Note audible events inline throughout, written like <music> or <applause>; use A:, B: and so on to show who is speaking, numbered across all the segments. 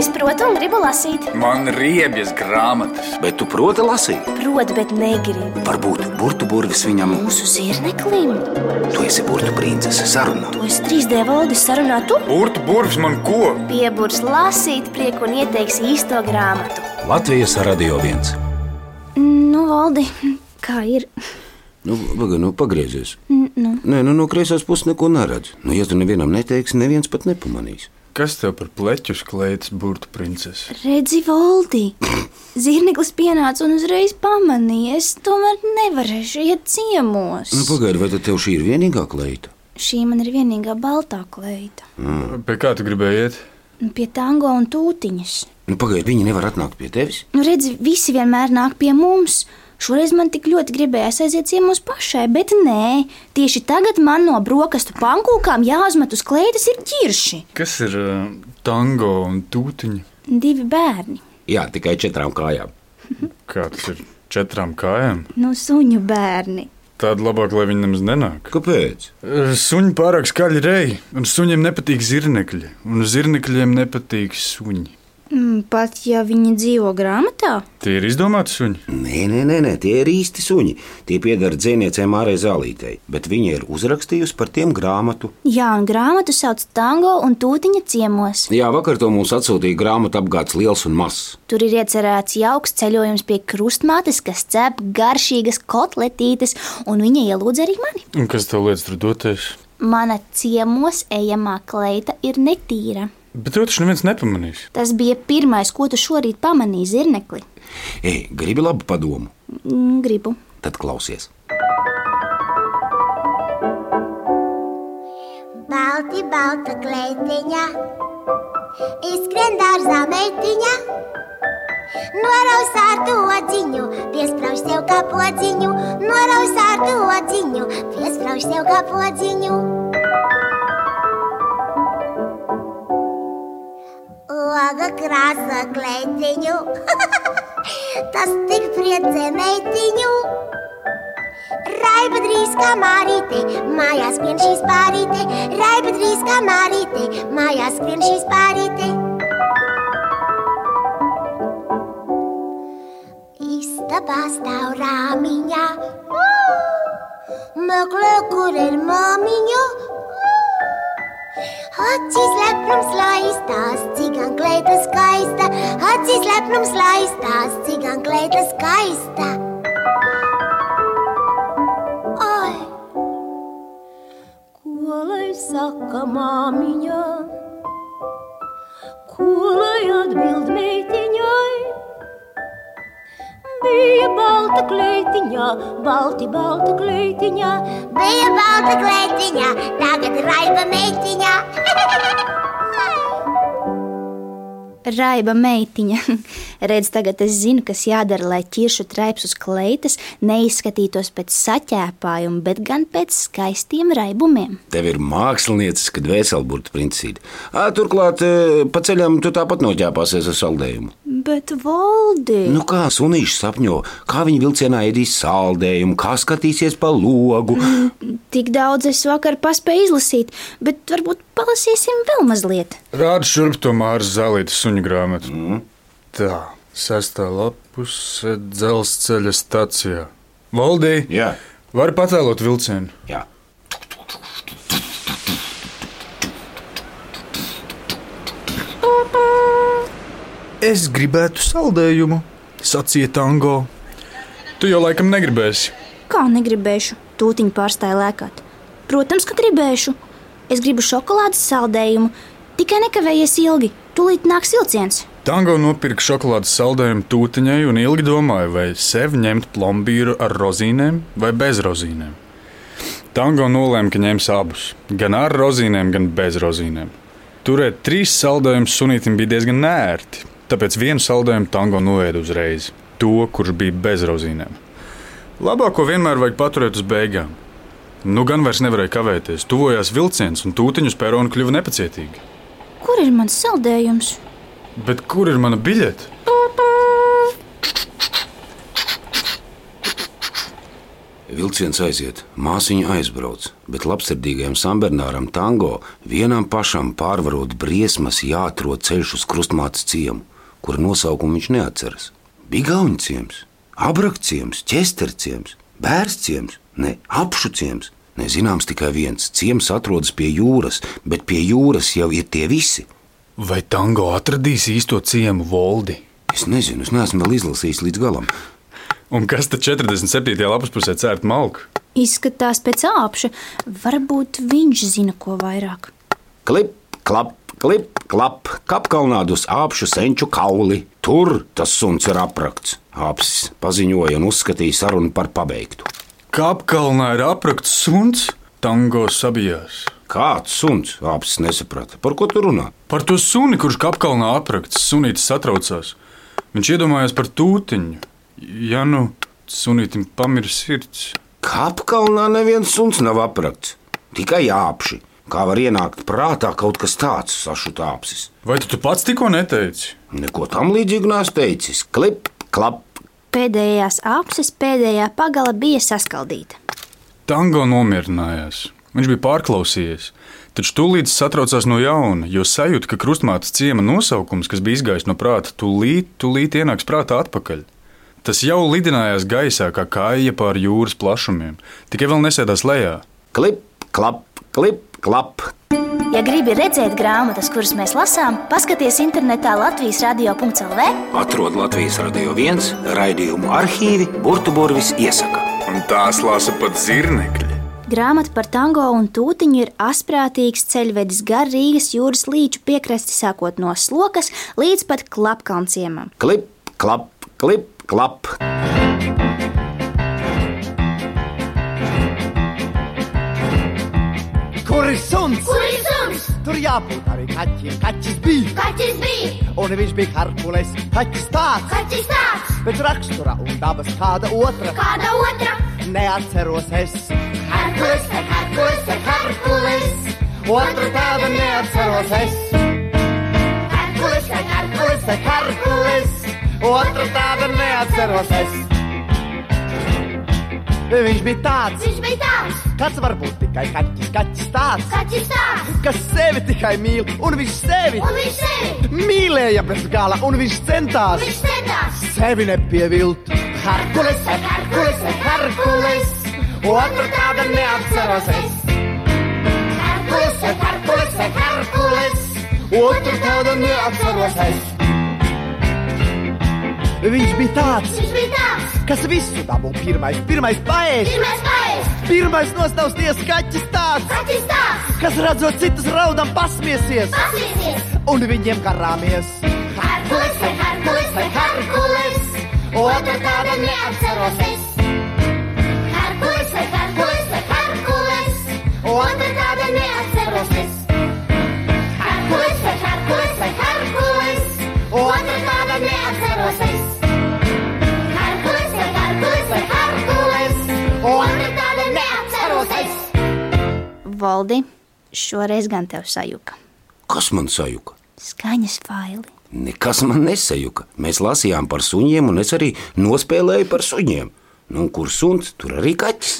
A: Es protu un gribu lasīt.
B: Man riebjas grāmatas.
C: Bet tu proti lasīt?
A: Protu, bet negribu.
C: Varbūt burbuļsaktas viņam.
A: Mūsu zirneklim.
C: Tu esi burbuļprincese sarunā.
A: To es 3D valdis sarunātu.
B: Burbuļs burvis man ko?
A: Pieburs lasīt prieku un ieteiks īsto grāmatu.
C: Latvijas radio viens.
A: Nu, valdi, kā ir?
C: Nu, Pagaidi, nu, pagriezies.
A: Nu.
C: Nē, nu, no kreisās puses neko neredz. Nu, ja tu nevienam neteiksi, neviens pat nepamanīs.
D: Kas tev par pleķu sklējas, burbuļu princese?
A: Redzi, Voldi, zirneklis pienāca un uzreiz pamanīja, es tomēr nevarēšu iet ciemos.
C: Nu, Pagaidi, vai tad tev šī ir vienīgā kleita?
A: Šī man ir vienīgā baltā kleita. Nu,
D: Pie kā tu gribēji iet?
A: Pie tango un tūtiņas.
C: Nu, Pagaidi, viņi nevar atnākt pie tevis.
A: Nu, redzi, visi vienmēr nāk pie mums. Šoreiz man tik ļoti gribējās aiziet ciemos pašai, bet nē, tieši tagad man no brokastu pankūkām jāuzmet uz kleitas ir ķirši.
D: Kas ir uh, tango un tūtiņa?
A: Divi bērni,
C: Jā, tikai četrām kājām.
D: Kā tas ir četrām kājām?
A: nu, suņu bērni.
D: Tāda labāk, lai viņi nemaz nenāk.
C: Kāpēc?
D: Er, Suņi pārāk skaļi rei, un suņiem nepatīk zirnekļi, un zirnekļiem nepatīk suņi.
A: Mm, Pat ja viņi dzīvo grāmatā,
D: Tie ir izdomāti suņi.
C: Nē, nē, nē, nē, tie ir īsti suņi. Tie pieder dzīsniecei Mārai Zālītei, bet viņa ir uzrakstījusi par tiem grāmatu.
A: jā, un grāmatu sauc tango un tūtiņa ciemos.
C: Jā, vakar to mums atsūtīja grāmatu apgādes liels un mazs.
A: Tur ir iecerēts jauks ceļojums pie krustmātes, kas cep garšīgas kotletītes, un viņa ielūdz arī mani.
D: Un kas tev liekas tur doties?
A: Mana ciemos ejamā kleita ir netīra.
D: Bet to taču neviens nepamanīs.
A: Tas bija pirmais, ko tu šorīt pamanīji, zirnekli.
C: Ei, gribi labu padomu,
A: Mm, Gribu.
C: tad klausies.
E: Balti, balta kleitiņa, izskrien dārzā meitiņa. Noraus ar to odziņu, piesprāž sev kā podziņu, noraus ar to odziņu, piesprāž sev kā podziņu. Oga krāsa kleitiņu, <laughs> tas tik priecē meitiņu. Raiba drīz kā mārīte, mājās skrien šī spārīte, raiba drīz kā mārīte, mājās skrien šī spārīte. Istabā stāv rāmiņā, meklē, kur ir māmiņa. Acīs lepnums laistās, cigan kleita skaista, acīs lepnums laistās, cigan kleita skaista. Ai, ko lai saka māmiņa, ko lai atbild meitiņai? Bija balta kleitiņa, balti, balta kleitiņa, bija balta kleitiņa, tagad raiba meitiņa. <laughs>
A: Raiba meitiņa. <laughs> Redz, tagad es zinu, kas jādara, lai ķiršu traips uz kleitas neizskatītos pēc saķēpājuma, bet gan pēc skaistiem raibumiem.
C: Tev ir mākslinieciska dvēsele, burbuļs princīte. Turklāt, e, pa ceļam tu tāpat noķēpāsies ar saldējumu.
A: Bet, Valdi,
C: Nu, kā sunīši sapņo, kā viņi vilcienā ēdīs saldējumu, kā skatīsies pa logu.
A: tik daudz es vakar paspēju izlasīt, bet varbūt palasīsim vēl mazliet.
D: Rāda šurp to māras zālītes suņu grāmatu. Mm. Tā, sestā lapuse dzelzceļa stacijā. Valdī,
C: Jā.
D: var patēlot vilcienu.
C: Jā.
D: Es gribētu saldējumu, sacīja tango. Tu jau laikam negribēsi.
A: Kā negribēšu, tūtiņa pārstāja lēkāt. Protams, ka gribēšu. Es gribu šokolādes saldējumu, tikai nekavējies ilgi. Tūlīt nāks vilciens.
D: Tango nopirka šokolādes saldējumu tūtiņai un ilgi domāja, vai sev ņemt plombīru ar rozīnēm vai bez rozīnēm. Tango nolēma, ka ņems abus, gan ar rozīnēm, gan bez rozīnēm. Turēt trīs saldējumus sunītam bija diezgan nērti, tāpēc vienu saldējumu tango noēda uzreiz, to, kurš bija bez rozīnēm. Labāko vienmēr vajag paturēt uz beigām. Nu gan vairs nevarēja kavēties, tuvojās vilciens un tūtiņu spēronu kļuva nepacietīgi.
A: Kur ir mans saldējums?
D: Bet kur ir mana biļete?
C: E, Vilciens aiziet, māsiņa aizbrauc, bet labsirdīgajam Sanbernāram tango vienam pašam pārvarot briesmas jāatrod ceļš uz krustmātes ciemu, kur nosaukumu viņš neatceras. Bija gauņu ciems, abrakciems, ķesterciems, bērciems, ne apšuciems. Nezināms tikai viens ciems atrodas pie jūras, bet pie jūras jau ir tie visi.
D: Vai tango atradīs īsto ciemu valdi?
C: Es nezinu, es neesmu vēl izlasījis līdz galam.
D: Un kas tad 47. lapas pusē cērt malku?
A: Izskatās pēc āpša. Varbūt viņš zina ko vairāk.
C: Klip, klap, klip, klap, kapkalnā uz apšu senču kauli. Tur tas suns ir aprakts. Apsis paziņoja un uzskatīja sarunu par pabeigtu.
D: Kāpkalnā ir aprakts suns, tango sabijās.
C: Kāds suns? Apsis nesaprata, par ko tu runā.
D: Par to suni, kurš kāpkalnā aprakts, sunītis satraucās. Viņš iedomājās par tūtiņu. Ja nu sunītim pamir sirds,
C: Kapkalnā neviens suns nav aprakts, tikai apši. Kā var ienākt prātā kaut kas tāds, sašuta apsis?
D: vai tu, tu pats tikko neteici?
C: Neko tam līdzīgu neesmu teicis. Klip, klap,
A: Pēdējās apses pēdējā pagala bija saskaldīta.
D: Tango nomierinājās. Viņš bija pārklausījies, taču tūlīt satraucās no jauna, jo sajūta, ka krustmātes ciema nosaukums, kas bija izgājis no prāta, tūlīt, tūlīt ienāks prātā atpakaļ. Tas jau lidinājās gaisā, kā kāja pār jūras plašumiem, tikai vēl nesēdās lejā.
C: klip, klap, klip, klap.
A: Ja gribi redzēt grāmatas, kuras mēs lasām, paskaties internetā Latvijas radio.cl.
C: Atrod Latvijas radio viens raidījumu arhīvi, burbuļsaktas iesaka.
B: Un tās lasa pat zirnekļi.
A: Grāmata par tango un tūtiņu ir asprātīgs ceļvedis gar Rīgas jūras līča piekrasti, sākot no slokas līdz pat klapkalnciemam.
C: Klip, klap, klip, klap.
F: Kur ir suns?
G: Kur ir suns?
F: Tur jābūt arī kaķim. Kaķis bija,
G: Kaķis bija,
F: un viņš bija Herkules. Kaķis tāds,
G: kaķis tāds,
F: bet rakstura un dabas kāda otra.
G: kāda otra.
F: Neatceros es,
G: Herkules, te Herkules, te Herkules,
F: otru tādu neatceros es.
G: Herkules, te
F: Herkules,
G: Herkules, te
F: te Herkules, otru tādu neatceros es. Viņš bija tāds,
G: Viņš bija tāds,
F: kas var būt tikai kaķis. Kaķis tāds,
G: kaķis tāds,
F: kas sevi tikai mīl, un viņš sevi
G: un viņš sevi,
F: mīlēja bez gala, un viņš centās.
G: viņš centās.
F: sevi nepievilt. Herkules,
G: Herkules, te Herkules, te Herkules,
F: otru tādu neapceros es.
G: Herkules, te Herkules, te Herkules,
F: Otru tādu neapceros es. Viņš bija tāds,
G: viņš bija tāds,
F: kas visu dabū pirmais, pirmais paēst,
G: pirmais paēs,
F: pirmais nostāsties kaķis tāds,
G: kaķis tāds,
F: kas redzot citus raudam pasmiesies
G: pasīsies.
F: un viņiem karāmies.
G: Herkules, te Herkules, te Herkules, otru tādu neapceros es. Herkules, te Herkules, te Herkules, otru tādu neatceros es. Herkules, te Herkules, te Herkules, otru tādu neatceros es. Herkules, te Herkules, te Herkules, otru tādu neatceros es.
A: Valdi, šoreiz gan tev sajuka.
C: Kas man sajuka?
A: Skaņas faili.
C: Nekas man nesajuka. Mēs lasījām par suņiem, un es arī nospēlēju par suņiem. Nu, un kur suns, tur arī kaķis.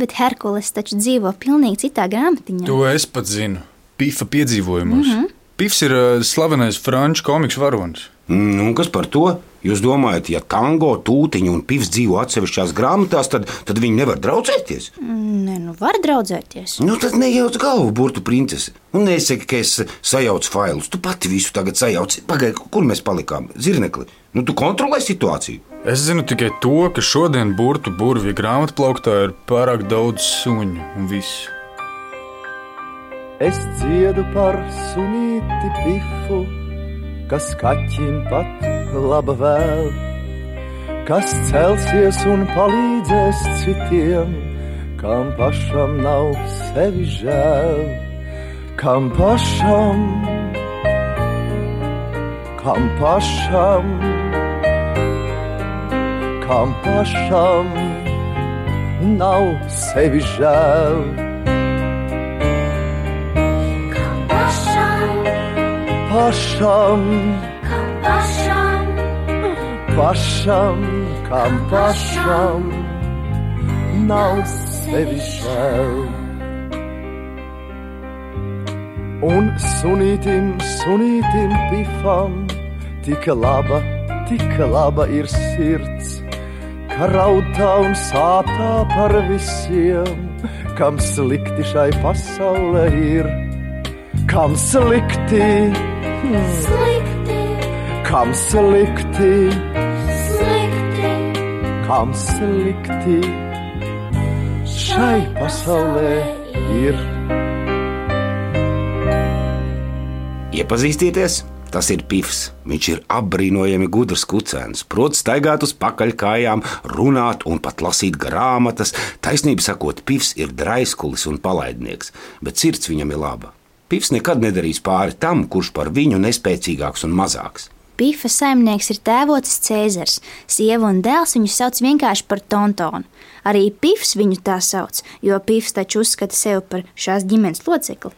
A: Bet Herkules taču dzīvo pavisam citā grāmatiņā.
D: To es pat zinu. Pifa piedzīvojumus. Mm -hmm. Pifs ir ā, slavenais franču komiks varonis.
C: Nu, un kas par to? Jūs domājat, ja tango, tūtiņa un pivs dzīvo atsevišķās grāmatās, tad, tad viņi nevar draudzēties?
A: Nē, nu var draudzēties.
C: Nu, tad nejauc galvu, burbuļu princese. Un nesaki, ka es sajaucu failus. Tu pati visu tagad sajauci. Pagaidi, kur mēs palikām? Zirnekli. Nu, tu kontrolē situāciju.
D: Es zinu tikai to, ka šodien burbuļu burvju grāmatplauktā ir pārāk daudz suņu un viss.
F: Es dziedu par sunīti pifu, kas kaķim pat laba vēl, kas celsies un palīdzēs citiem, kam pašam nav sevi žēl, kam pašam, kam pašam, kam pašam nav sevi žēl.
G: Pašam,
F: pašam,
G: pašam,
F: pašam, kam pašam
H: nav sevi žēl. Un sunītim, sunītim pifam, tik laba, tik laba ir sirds, ka rautā un sāpā par visiem, kam slikti šai pasaulē ir, kam slikti,
G: Slikti,
H: kam slikti,
G: slikti,
H: kam slikti šai pasaulē ir.
C: Iepazīstieties, tas ir Pifs. Viņš ir apbrīnojami gudrs kucēns, prot staigāt uz pakaļkājām, runāt un pat lasīt grāmatas. Taisnība sakot, Pifs ir draiskulis un palaidnieks, bet sirds viņam ir laba. Pifs nekad nedarīs pāri tam, kurš par viņu nespēcīgāks un mazāks.
A: Pifa saimnieks ir tēvocis Cēzars. Sieva un dēls viņu sauc vienkārši par tontonu. Arī Pifs viņu tā sauc, jo Pifs taču uzskata sevi par šās ģimenes locekli.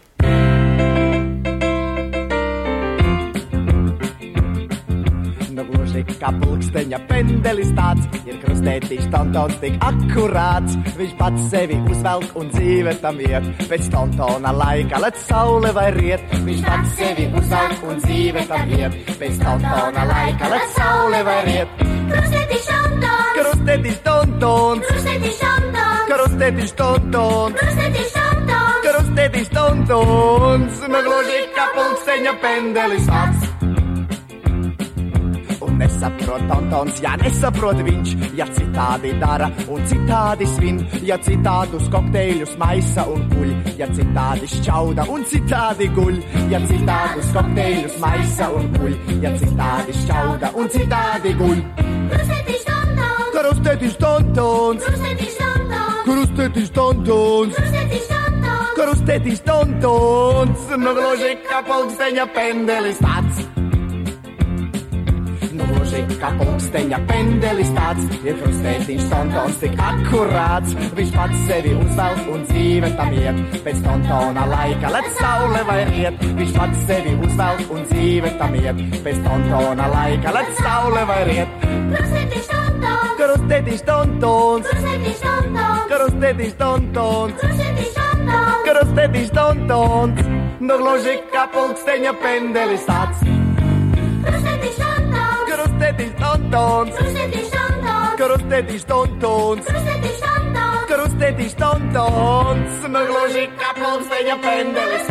F: Nu, gluži kā pulksteņa pendelis tāds, ir krustētīgs tontons tik akurāts. Viņš pats sevi uzvelk un dzīve tam iet, pēc tontona laika, lai saule vai riet. Viņš pats sevi uzvelk un dzīve tam iet, pēc tontona laika, lai saule vai riet.
G: krustēti šantons,
F: Krustētīgs tontons,
G: krustēti šantons,
F: krustētīgs tontons.
G: krustēti šantons,
F: Krustētīgs tontons, nu gluži kā pulksteņa pendelis tāds. un nesaprot Antons, ja nesaprot viņš, ja citādi dara un citādi svin, ja citādus kokteļus maisa un guļ, ja citādi šķauda un citādi guļ, ja citādus kokteļus maisa un guļ, ja citādi šķauda un citādi guļ.
G: krustēti šantons,
F: Karustētis Antons,
G: krustēti šantons,
F: karustētis Antons,
G: krustēti šantons,
F: karustētis Antons, no gluži kā pulksteņa pendelis tāds. Nu, gluži kā pulksteņa pendelis tāds, ir krustētiņš tontons tik akurāts. Viņš pats sevi uzvelk un dzīve tam iet, pēc tontona laika, lai saule vai iet. Viņš pats sevi uzvelk un dzīve tam iet, pēc tontona laika, lai saule vai iet.
G: krustēti šantons,
F: Krustētiņš tontons,
G: krustēti šantons,
F: krustētiņš tontons,
G: krustēti šantons,
F: krustētiņš tontons. Nu, gluži kā pulksteņa pendelis tāds,
G: krustēti šantons,
F: krustētiņš tontons,
G: krustēti šantons,
F: krustētiņš tontons.
G: krustēti šantons.
F: Krustētis tontons, no gluži kā pulksteņa pendelis.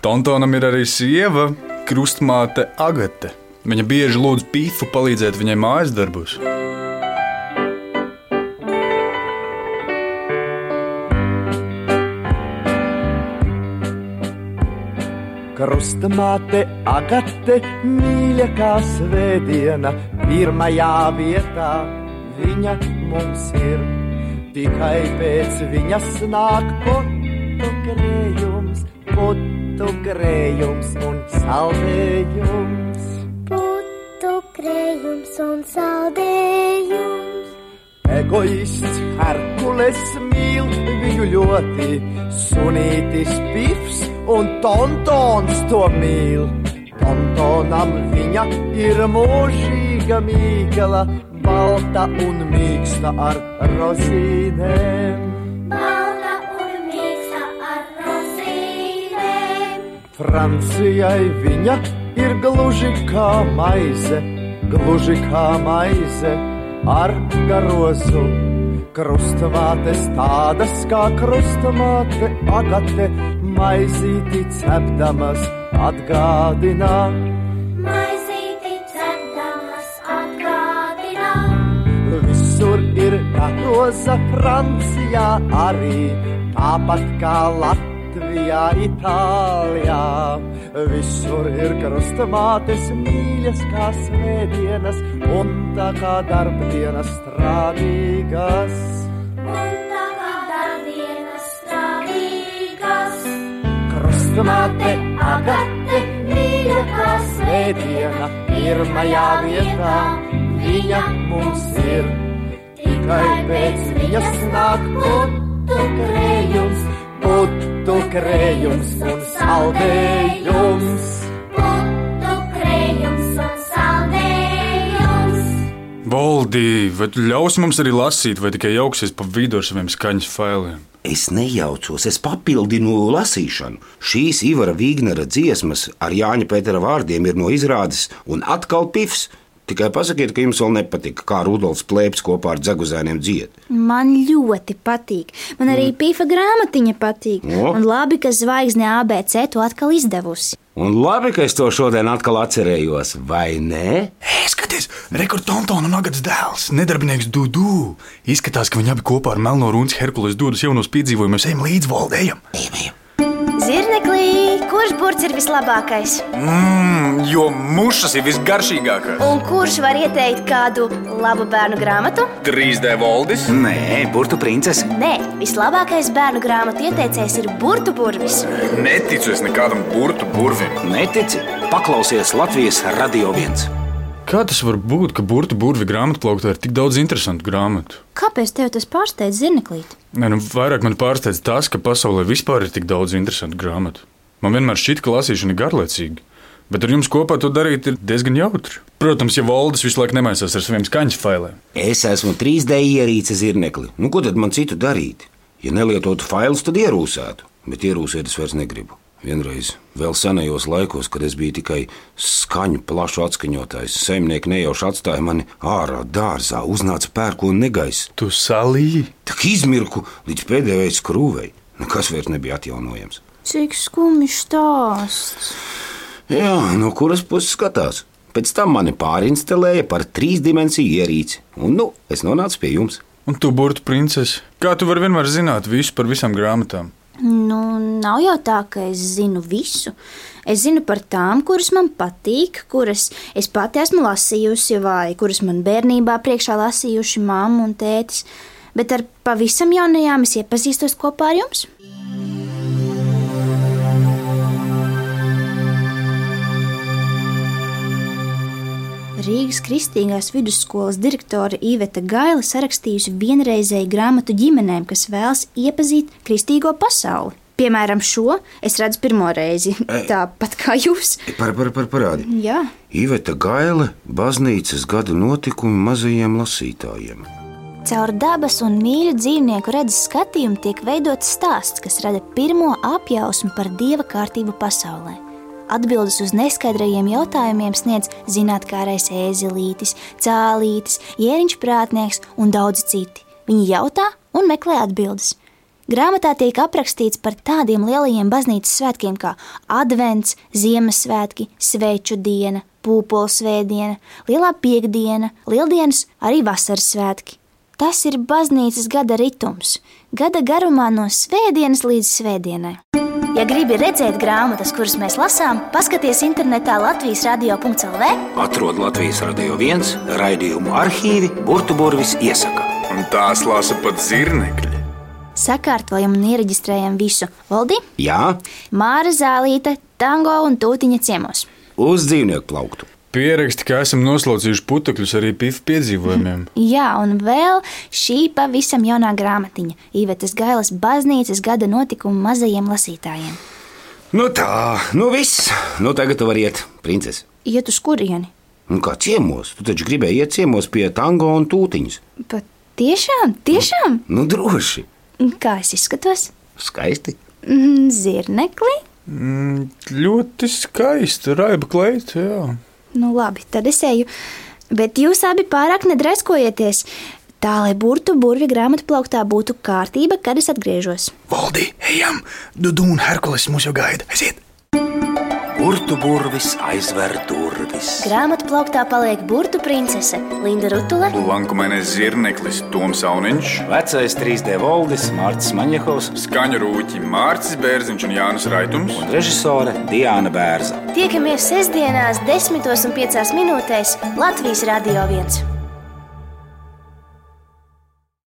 D: Tontonam ir arī sieva, krustmāte Agate. Viņa bieži lūdz pīfu palīdzēt viņai mājas darbos.
H: Krustamāte, agate, mīļākā svētdiena, pirmajā vietā viņa mums ir. Tikai pēc viņas nāk potu grējums, potu grējums un saldējums.
E: Putu krējums un saldējums.
H: Egoists Herkules mīl viņu ļoti, sunītis pifs un tontons to mīl. Tontonam viņa ir mūžīga mīkla, balta un mīksta ar rozīnēm.
G: Balta un mīksta ar rozīnēm,
H: Francijai viņa ir gluži kā maize, gluži kā maize ar garozu. Krustamātes tādas kā krustamāte, agate, maizīti cepdamas atgādina.
G: maizīti cepdamas atgādinā.
H: Visur ir garoza Francijā arī, tāpat kā Latvijā. Itālijā visur ir krustamātes, mīļas kā svētdienas un tā kā darbdienas strādīgas.
G: Un tā kā darbdienas strādīgas,
H: Krustamāte,
G: mate agate mīļākā
H: svētdiena,
G: svētdiena,
H: pirmajā vietā viņa mums ir. Tikai pēc viņas nāk putu krējums, putu krējums un saldējums.
G: Putu krējums un saldējums.
D: Vol Valdī, vai tu ļausi mums arī lasīt, vai tikai jauksies pa vidu ar saviem skaņas failiem?
C: Es nejaucos, es papildinu lasīšanu. Šīs Ivara Vīgnera dziesmas ar Jāņa Pētera vārdiem ir no izrādes, un atkal pifs. Tikai pasakiet, ka jums vēl nepatika, kā Rudolfs plēps kopā ar dzeguzēniem dzied.
A: Man ļoti patīk. Man arī mm. pīpa grāmatiņa patīk.
C: O.
A: Un labi, ka zvaigzne ABC to atkal izdevusi.
C: Un labi, ka es to šodien atkal atcerējos, vai ne?
D: Ej, skaties, rekords Tontona un Agatas dēls, nedarbinieks Dudu. Izskatās, ka viņi abi kopā ar Melno Runas Herkules dūrus jaunos piedzīvojumus ejam līdz valdējam.
A: Zirneklī, kurš burts ir vislabākais?
D: Mm, jo mušas ir visgaršīgākās.
A: Un kurš var ieteikt kādu labu bērnu grāmatu?
B: 3D valdis,
C: Nē, burbuļu princese.
A: Nē, vislabākais bērnu grāmatu ieteicējs ir burtu burvis.
B: neticu es nekādam burtu burvim.
C: Netici, paklausies Latvijas radio viens.
D: Kā tas var būt, ka burbuļu burvi grāmatplauktā ir tik daudz interesantu grāmatu?
A: Kāpēc tev tas pārsteidz, Zirneklīt?
D: Nē, nu, vairāk man pārsteidz tas, ka pasaulē vispār ir tik daudz interesantu grāmatu. Man vienmēr šķiet, ka lasīšana ir garlaicīga. Bet ar jums kopā to darīt ir diezgan jautri. Protams, ja valdes visu laiku nemaisās ar saviem skaņas failiem.
C: Es esmu 3D ierīces zirnekli. Nu, ko tad man citu darīt? Ja nelietotu failus, tad ierūsētu. Bet ierūsēt es vairs negribu. Vienreiz, vēl senajos laikos, kad es biju tikai skaņu plašu atskaņotājs, saimnieki nejauši atstāja mani ārā dārzā. Uznāca pērkona negaiss,
D: Tu salīji!
C: tā kā izmirku līdz pēdējai skrūvei. Nekas vairs nebija atjaunojams.
A: Cik skumjš stāsts.
C: Jā, no kuras puses skatās? Pēc tam mani pārinstalēja par trīsdimensiju ierīci, un nu, es nonācu pie jums.
D: Un tu, burbuļu princese, kā tu vari vienmēr zināt visu par visām grāmatām?
A: Nu, nav jau tā, ka es zinu visu. Es zinu par tām, kuras man patīk, kuras es pati esmu lasījusi, vai kuras man bērnībā priekšā lasījuši mamma un tētis. Bet ar pavisam jaunajām es iepazīstos kopā ar jums. Rīgas Kristīgās vidusskolas direktore Iveta Gaila sarakstījusi vienreizēju grāmatu ģimenēm, kas vēlas iepazīt kristīgo pasauli. Piemēram, šo es redzu pirmo reizi, tāpat kā jūs.
C: Par, par, par parādi.
A: Jā,
C: Iveta Gaila, baznīcas gada notikumi mazajiem lasītājiem.
A: caur dabas un mīļu dzīvnieku redzes skatījumu tiek veidots stāsts, kas rada pirmo apjausmu par dieva kārtību pasaulē. Atbildes uz neskaidrajiem jautājumiem sniedz zinātnēkārais ēzelītis, cēlītis, ieriņš prātnieks un daudzi citi. Viņi jautā un meklē atbildes. Grāmatā tiek aprakstīts par tādiem lielajiem baznīcas svētkiem kā Advents, Ziemassvētki, Sveču diena, Pūpolsvētdiena, Lielā piekdiena, Lieldienas, arī Vasaras svētki. Tas ir baznīcas gada ritms, gada garumā no svētdienas līdz svētdienai. Ja gribi redzēt grāmatas, kuras mēs lasām, paskaties internetā Latvijas radio.cl.
C: Atrod Latvijas radio viens raidījumu arhīvi, burbuļsaktas iesaka.
B: Un tās lasa pat zirnekļi.
A: Sakārtojam un ieraģistrējam visu Valdi,
C: Jā,
A: Māra Zālīte, Tango un Tūtiņa ciemos.
C: uz dzīvnieku plauktu.
D: Pieraksti, ka esam noslaucījuši putekļus arī pifu piedzīvojumiem.
B: <laughs>
A: Jā, un vēl šī pavisam jaunā grāmatiņa - Īvetes Gailas baznīcas gada notikumu mazajiem lasītājiem.
C: Nu tā, nu viss, nu tagad tu vari iet, princese.
A: Iet uz kurieni?
C: Nu kā ciemos, tu taču gribēji iet ciemos pie tango un tūtiņas.
A: Pat tiešām, tiešām?
C: Nu droši,
A: Kā es izskatos?
C: skaisti.
A: Mm, Zirnekli?
D: Mm, ļoti skaisti, raiba kleita, jā.
A: Nu, labi, tad es eju. Bet jūs abi pārāk nedreskojieties. Tā, lai burtu burvju grāmatu plauktā būtu kārtība, kad es atgriežos.
D: Valdī, ejam! Dudu un Herkules mūs jau gaida. Aiziet!
C: Burbuļsaktas aizver durvis.
A: Grāmatu plauktā paliek burtu princese Linda Rutula.
B: Lankumainais zirneklis, Toms Auniņš,
C: Vecais 3D valdis Mārcis Kalniņš
B: skaņu rūķi Mārcis Bērziņš un Jānis Raitums.
C: un režisore Diana Bērza.
A: Tiekamies sestdienās, 10 un 5 minūtēs Latvijas Radio 1.